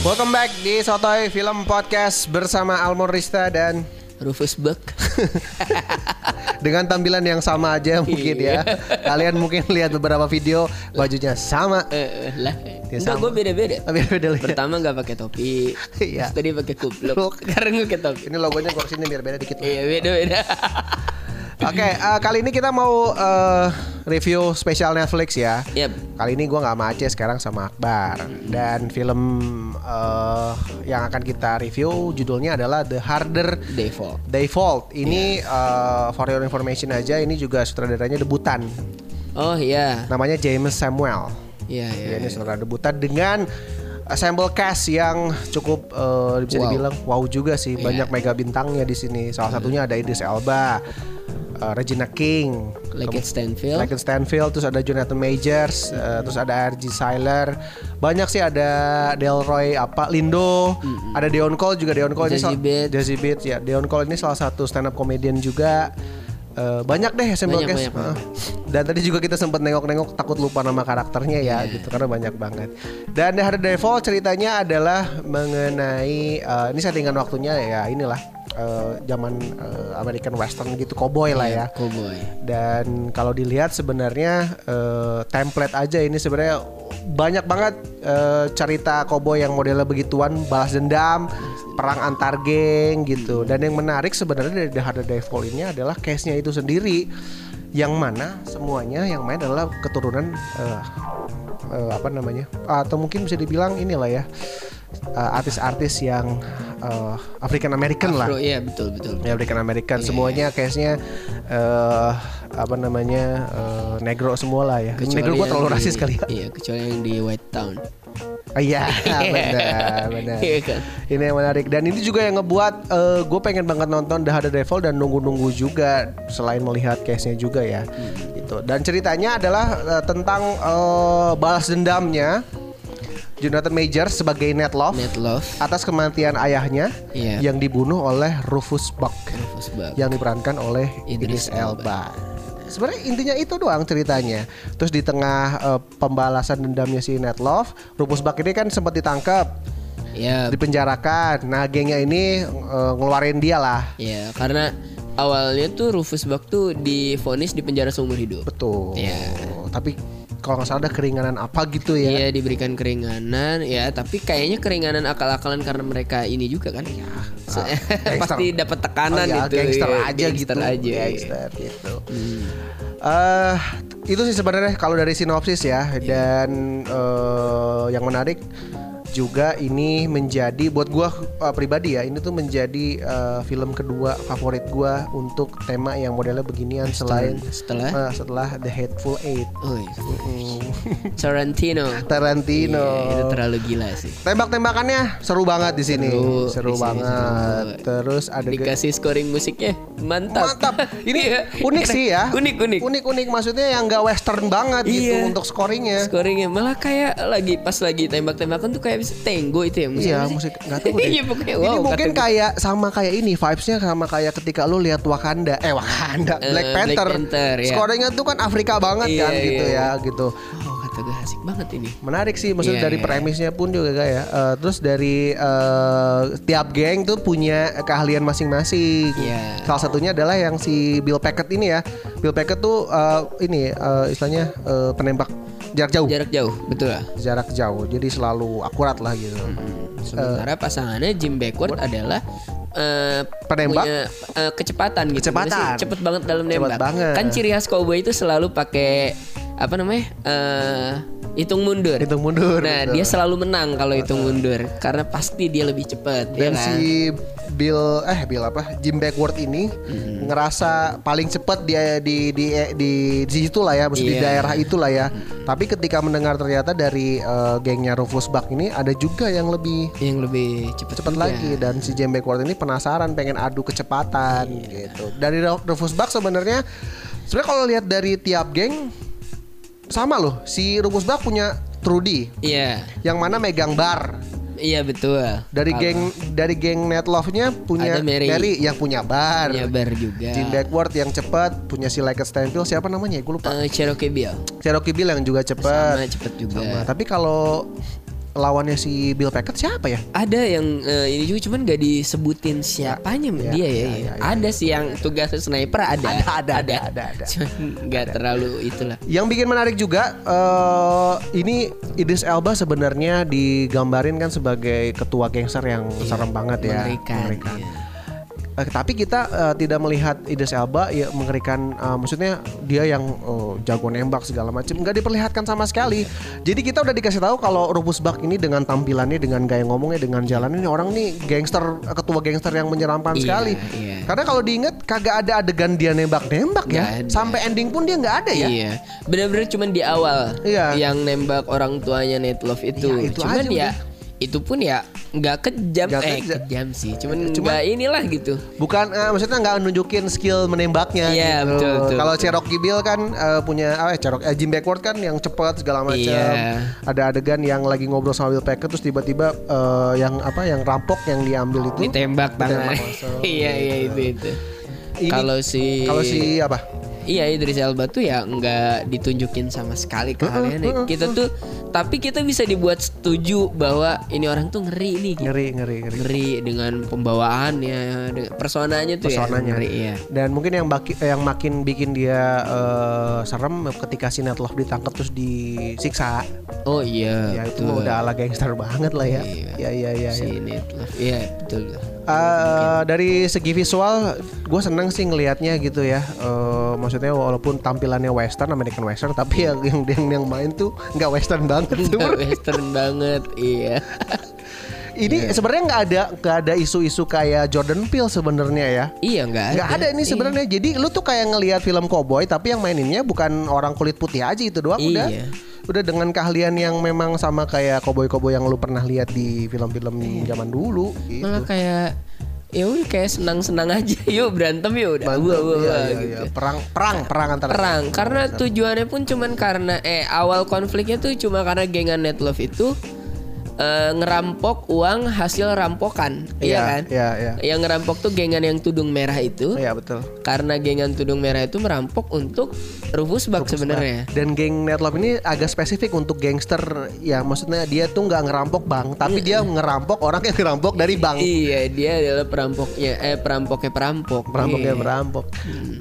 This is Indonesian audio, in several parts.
Welcome back di Sotoy Film Podcast bersama Almon Rista dan Rufus Buck. dengan tampilan yang sama aja mungkin ya. Kalian mungkin lihat beberapa video bajunya sama. Eh, eh, lah. Dia Enggak, sama. gue beda-beda. Tapi beda lihat. Pertama nggak pakai topi. Iya. Terus Tadi pakai Kupluk. kupluk. Sekarang gue pakai topi. Ini logonya gua kesini biar beda dikit. Oke, Iya, beda-beda. eh, kali ini kita mau eh, review spesial Netflix ya. Yap. Kali ini gua nggak sama Aceh sekarang sama Akbar dan film eh, yang akan kita review judulnya adalah The Harder Default. They Fault. Ini eh, for your information aja, ini juga sutradaranya debutan. Oh iya. Namanya James Samuel. Iya, Ya, iya. ini iya. sutradara debutan dengan ensemble cast yang cukup eh, bisa Wow. dibilang wow juga sih. Iya. Hmm. Banyak mega bintangnya di sini. Salah satunya ada Idris Elba, eh, Regina King, Leggett kem- Stanfield. Leggett Stanfield, terus ada Jonathan Majors, eh, terus ada RG Seiler. Banyak sih ada Delroy apa Lindo, ada Deon Cole juga Deon Cole ini Jazzy sal- Bates. Jazzy Bates, ya. Deon Cole ini salah satu stand up comedian juga. Eh, banyak deh ensemble Banyak, cast. banyak, banyak. Eh, dan tadi juga kita sempat nengok-nengok takut lupa nama karakternya ya Iya. gitu karena banyak banget. Dan The Hard Devil ceritanya adalah mengenai eh, ini settingan waktunya ya inilah eh, zaman eh, American Western gitu cowboy lah ya. Iya, Cowboy. Dan kalau dilihat sebenarnya eh, template aja ini sebenarnya banyak banget eh, cerita cowboy yang modelnya begituan balas dendam, perang antar geng gitu. Dan yang menarik sebenarnya dari The Harder They Fall ini adalah case-nya itu sendiri yang mana semuanya yang main adalah keturunan eh, eh, apa namanya? Atau mungkin bisa dibilang inilah ya eh, artis-artis yang eh, African American lah Bro, iya betul betul. ya African American semuanya case-nya eh apa namanya eh, negro semua lah ya negro gua yang terlalu di- rasis kali ya Iya, kecuali yang di White Town. Ah, iya benar benar Iya kan? ini yang menarik dan ini juga yang ngebuat gue pengen banget nonton The Harder Devil dan nunggu-nunggu juga selain melihat case-nya juga ya Hmm. gitu dan ceritanya adalah eh, tentang eh, balas dendamnya Jonathan Majors sebagai Ned Love Net Love. atas kematian ayahnya Iya. yang dibunuh oleh Rufus Buck Rufus Buck. yang diperankan oleh Idris, Idris Elba. Sebenarnya intinya itu doang ceritanya. Terus di tengah eh, pembalasan dendamnya si Ned Love, Rufus Buck ini kan sempat ditangkap, Ya, dipenjarakan. Nah, gengnya ini eh, ngeluarin dia lah. ya karena awalnya tuh Rufus Buck tuh divonis di penjara seumur hidup. Betul. Iya. Tapi kalau nggak salah ada keringanan apa gitu ya. Iya diberikan keringanan ya tapi kayaknya keringanan akal-akalan karena mereka ini juga kan ya pasti dapat tekanan Ah, Oh, iya, itu gangster ya, aja gangster gitu. aja Hmm. iya. Gangster gitu. Eh, itu sih sebenarnya kalau dari sinopsis ya Iya. dan eh, yang menarik juga ini menjadi buat gua eh, pribadi ya ini tuh menjadi eh, film kedua favorit gua untuk tema yang modelnya beginian selain setelah? eh, setelah The Hateful Eight Oi. Tarantino Tarantino. Iya, itu terlalu gila sih Tembak-tembakannya seru banget di sini. Seru, Seru, di sini banget. seru. Terus ada dikasih scoring musiknya mantap Mantap. Ini Iya. unik sih ya. unik unik Unik unik maksudnya yang nggak western banget gitu Iya. untuk scoringnya. scoringnya malah kayak lagi pas lagi tembak-tembakan tuh kayak bisa tenggo itu ya musiknya Iya sih? musik nggak tahu deh. Iya, pokoknya ini wow, mungkin kata- kayak sama kayak ini vibesnya sama kayak ketika lu lihat Wakanda, eh Wakanda, Eh, Black Black Panther. Panther, ya. Scoringnya tuh kan Afrika banget Iya, kan gitu iya. ya gitu. oh kata gue asik banget ini Menarik sih maksudnya Iya, dari iya. premisnya pun juga kayak ya. Eh, terus dari eh, tiap geng tuh punya keahlian masing-masing. Iya. Salah satunya adalah yang si Bill Packett ini ya. Bill Packett tuh eh, ini eh, istilahnya eh, penembak jarak jauh. jarak jauh betul lah jarak jauh jadi selalu akurat lah gitu Eh, Sementara pasangannya Jim Backward adalah eh, Penembak? punya eh, kecepatan gitu. Kecepatan. Gimana sih? Cepet banget dalam Cepet nembak. banget. Kan ciri khas cowboy itu selalu pakai apa namanya eh hitung mundur. Hitung mundur, Nah betul. dia selalu menang kalau hitung mundur karena pasti dia lebih cepat. ya Dan kan? si Bill eh Bill apa Jim Backward ini Mhm. ngerasa paling cepat dia di di di di situ lah ya, mesti di Iya. Mhm. daerah itulah ya. Tapi ketika mendengar ternyata dari eh, gengnya Rufus Buck ini ada juga yang lebih yang lebih cepat cepat juga. lagi dan si Jim Backward ini penasaran pengen adu kecepatan Iya. gitu. Dari Ru- Rufus Buck sebenarnya sebenarnya kalau lihat dari tiap geng sama loh si Rufus Buck punya Trudy Iya, yang mana megang bar iya betul. dari Kalau geng dari geng Netlove-nya punya Ada Mary. Iya, yang punya bar. nyebar juga. Jim Backward yang cepat, punya si Leggett Stanfield siapa namanya ya? Gue lupa. Eh, Cherokee Bill Cherokee Bill yang juga sama iya. cepat. cepet juga. Sama. Tapi kalau lawannya si Bill Packard siapa ya? Ada yang eh, ini juga cuman gak disebutin siapanya Ya, ya, dia ya. ya. ya, ya. Ada sih yang tugasnya sniper ada. Ada, ada, ada, ada, ada. Cuman nggak terlalu itulah. Yang bikin menarik juga eh, ini Idris Elba sebenarnya digambarin kan sebagai ketua gangster yang serem banget ya. Iya, mengerikan, iya. Eh, tapi kita eh, tidak melihat Idris Elba ya mengerikan eh, maksudnya dia yang eh, jago nembak segala macam nggak diperlihatkan sama sekali. Jadi kita udah dikasih tahu kalau Rufus Buck ini dengan tampilannya, dengan gaya ngomongnya, dengan jalannya ini orang nih gangster eh, ketua gangster yang menyeramkan Iya, sekali. iya. Karena kalau diingat kagak ada adegan dia nembak-nembak ya. Nggak ada. Sampai ending pun dia nggak ada ya. Iya, benar-benar cuman di awal Iya. yang nembak orang tuanya Netlove itu. Iya, itu cuman aja ya udah. itu pun ya nggak kejam, Nggak eh kejam. kejam sih. Cuman, Cuman- nggak inilah gitu. Bukan eh, maksudnya nggak nunjukin skill menembaknya Iya, gitu. betul, betul, Kalau betul. Cherokee Bill kan eh, punya ah, eh Cherokee eh, Jim Backward kan yang cepat segala macam. Iya. Ada adegan yang lagi ngobrol sama Will Packer terus tiba-tiba eh, yang apa yang rampok yang diambil itu. ditembak Oh, tangan. langsung. Gitu. iya iya itu itu. Ini- Kalau si Kalau si apa? Iya Idris Elba tuh ya nggak ditunjukin sama sekali keahliannya. Kita tuh tapi kita bisa dibuat setuju bahwa ini orang tuh ngeri nih gitu. Ngeri ngeri ngeri. Ngeri dengan pembawaannya, dengan personanya tuh ya. Pesonanya. Ngeri ya. Dan mungkin yang baki, eh, yang makin bikin dia eh, serem ketika si Netloff ditangkap terus disiksa. Oh ya iya. itu betul. udah ala gangster banget lah ya. Iya. Iya iya iya. Si iya. Netflix. Iya betul. Eh, dari segi visual, gue seneng sih ngelihatnya gitu ya. Eh, maksudnya walaupun tampilannya western, American western, tapi yang yang yang, yang main tuh nggak western banget. Nggak Western banget, iya. ini sebenarnya nggak ada nggak ada isu-isu kayak Jordan Peele sebenarnya ya. iya nggak ada. Nggak ada ini Iya. sebenarnya. Jadi lu tuh kayak ngelihat film cowboy, tapi yang maininnya bukan orang kulit putih aja itu doang. Udah, Iya. udah dengan keahlian yang memang sama kayak cowboy-cowboy yang lu pernah lihat di film-film Iya. zaman dulu. Gitu. Malah kayak ya udah kayak senang-senang aja yuk berantem yuk udah Berantem, Wah, wah, iya, wah, iya, iya. gitu. Perang, perang, perang antara perang karena tujuannya pun cuman karena eh awal konfliknya tuh cuma karena gengan Netlove itu eh, ngerampok uang hasil rampokan iya Iya, kan iya, iya. yang ngerampok tuh gengan yang tudung merah itu Iya betul. karena gengan tudung merah itu merampok untuk Rufus Buck sebenarnya Dan geng Netlove ini agak spesifik untuk gangster ya maksudnya dia tuh nggak ngerampok bank, tapi dia ngerampok orang yang ngerampok dari bank. iya dia adalah perampoknya eh perampoknya perampok Perampoknya Iya. merampok.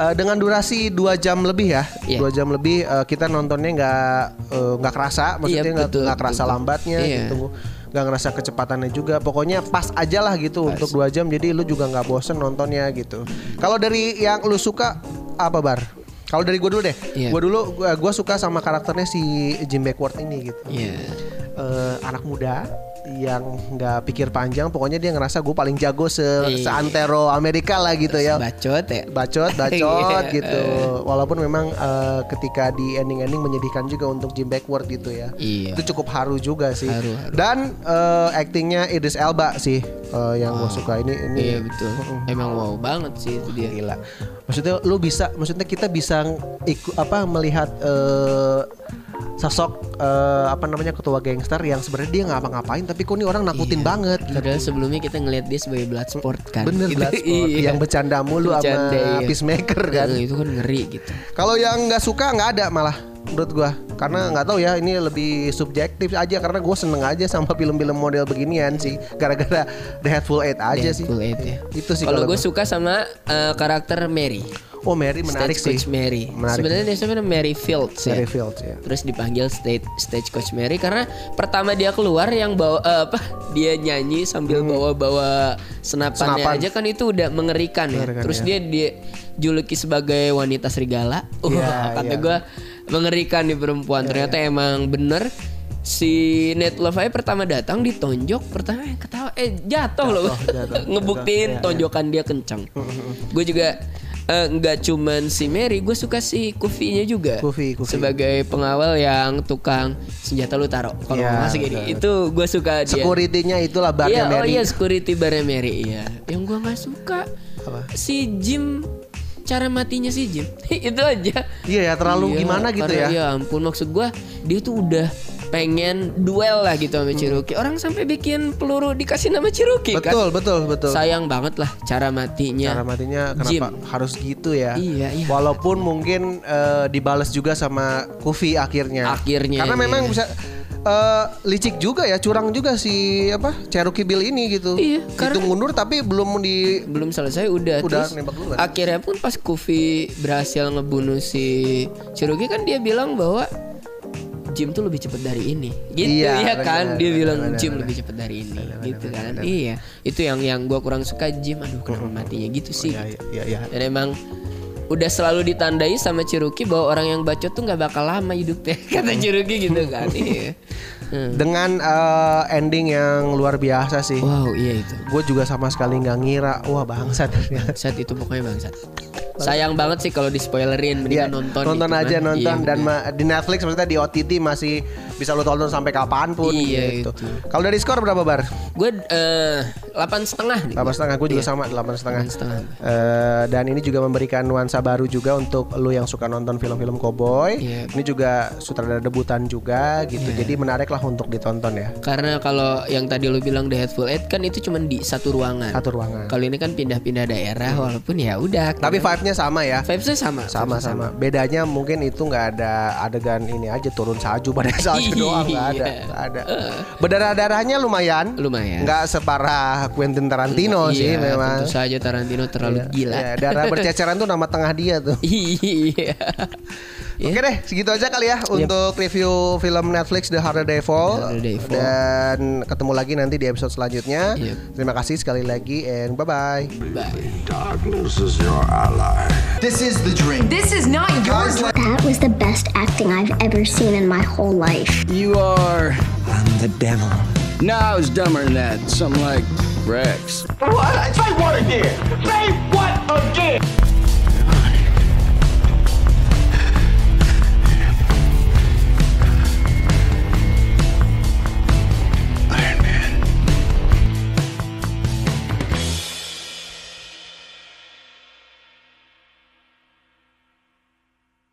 Eh, dengan durasi dua jam lebih ya, Iya. dua jam lebih eh, kita nontonnya nggak eh, nggak kerasa, maksudnya nggak Iya, betul, nggak kerasa betul. lambatnya Iya. gitu, nggak ngerasa kecepatannya juga. Pokoknya pas aja lah gitu untuk dua jam, jadi lu juga nggak bosen nontonnya gitu. Kalau dari yang lu suka apa bar? Kalau dari gue dulu deh, Iya. gue dulu gua gua suka sama karakternya si Jim Backward ini gitu. iya eh, anak muda yang nggak pikir panjang pokoknya dia ngerasa gue paling jago se Iya. seantero Amerika lah gitu ya bacot ya bacot bacot Iya. gitu walaupun memang eh, ketika di ending ending menyedihkan juga untuk Jim Backward gitu ya Iya. itu cukup haru juga sih Haru, haru. dan eh, aktingnya Idris Elba sih eh, yang gue suka ini ini iya betul emang wow banget sih itu dia gila maksudnya lu bisa maksudnya kita bisa iku- apa melihat eh, sosok eh, apa namanya ketua gangster yang sebenarnya dia nggak ngapa-ngapain tapi kok ini orang Iya. nakutin banget gitu. Padahal sebelumnya kita ngelihat dia sebagai Bloodsport kan. bener Itu- Bloodsport. iya. yang bercanda mulu Bercanda, sama iya. peacemaker kan Eh, Itu kan ngeri gitu. kalau yang nggak suka nggak ada malah menurut gua karena nggak tahu ya ini lebih subjektif aja karena gue seneng aja sama film-film model beginian sih gara-gara The Hateful Eight aja sih Full Eight ya. itu sih Kalau gue gua. suka sama eh, karakter Mary. oh Mary menarik Stagecoach sih Mary. menarik Sebenarnya dia sebenarnya Mary Fields ya. Mary Fields ya Terus dipanggil stage Stagecoach Mary karena pertama dia keluar yang bawa eh, apa dia nyanyi sambil bawa-bawa senapannya Hmm. Senapan. aja kan itu udah mengerikan, ya. Mengerikan, Terus ya. dia dijuluki sebagai wanita serigala. Wah, Iya, kata iya. gue mengerikan di perempuan. Ternyata emang bener si Net Love aja pertama datang ditonjok pertama eh, ketawa eh jatuh loh jatuh, ngebuktiin jatuh, iya, Mm-hmm. tonjokan dia kencang gue juga eh, nggak cuman si Mary gue suka si Kufinya juga Kufi, Kufi. sebagai pengawal yang tukang senjata lu taruh kalau Iya, masih gini betul. itu gue suka dia Security-nya itulah barnya iya, Mary. Oh iya, security barnya Mary, iya. Yang gua nggak suka Apa? si Jim cara matinya si Jim. itu aja. Iya ya, terlalu Iya, gimana gitu karena- ya. Ya ampun, maksud gua dia tuh udah pengen duel lah gitu sama Cherokee. Orang sampai bikin peluru dikasih nama Cherokee Mm-hmm. Betul, kan. betul, betul. Sayang banget lah cara matinya. Cara matinya kenapa Jim. harus gitu ya? Iya, iya. Walaupun mungkin eh, dibales juga sama Kufi akhirnya. Akhirnya, Karena memang iya. bisa eh, licik juga ya, curang juga si apa Cherokee Bill ini gitu. Iya, Itu karena- mundur tapi belum di belum selesai udah, Udah terus nembak duluan. akhirnya pun pas Kufi berhasil ngebunuh si Cherokee kan dia bilang bahwa Jim tuh lebih cepet dari ini gitu Iya, ya benar, kan dia benar, bilang benar, Jim benar. lebih cepet dari ini gitu kan iya itu yang yang gua kurang suka Jim aduh kenapa matinya gitu sih Hmm. Iya, gitu. iya, iya. dan emang udah selalu ditandai sama Cherokee bahwa orang yang bacot tuh nggak bakal lama hidupnya kata Hmm. Cherokee gitu kan iya Hmm. Dengan eh, ending yang luar biasa sih. wow iya itu Gue juga sama sekali nggak ngira, wah bangsat. Bangsat itu pokoknya bangsat. Sayang banget sih kalau di spoilerin Iya, mendingan nonton. nonton gitu kan. aja nonton Iya, dan bener. ma- di Netflix maksudnya di OTT masih bisa lu tonton sampai kapanpun Iya, gitu. itu. Kalau dari skor berapa bar? gue eh, delapan setengah nih. Delapan setengah, gue Iya. juga sama delapan setengah. Eh, dan ini juga memberikan nuansa baru juga untuk lu yang suka nonton film-film koboi. Iya. Ini juga sutradara debutan juga gitu. Jadi menarik lah untuk ditonton ya. Karena kalau yang tadi lu bilang The Hateful Eight kan itu cuman di satu ruangan. Satu ruangan. Kalau ini kan pindah-pindah daerah walaupun ya udah. Tapi vibe-nya sama ya. vibesnya sama. Sama-sama. Bedanya mungkin itu nggak ada adegan ini aja turun salju pada salju doang nggak ada. Iya. nggak ada. Berdarah-darahnya lumayan. Lumayan. Nggak separah Quentin Tarantino sih Iya, memang. Tentu saja Tarantino terlalu gila. Ya, darah berceceran tuh nama tengah dia tuh. Iya. Oke deh, segitu aja kali ya untuk review film Netflix The Harder They Fall. The Harder They Fall. Dan ketemu lagi nanti di episode selanjutnya. Yep. Terima kasih sekali lagi and bye bye. Bye. Darkness is your ally. This is the dream. This is not yours. That was the best acting I've ever seen in my whole life. You are. I'm the devil. No, I was dumber than that. Something like Rex. What? Say what again? Say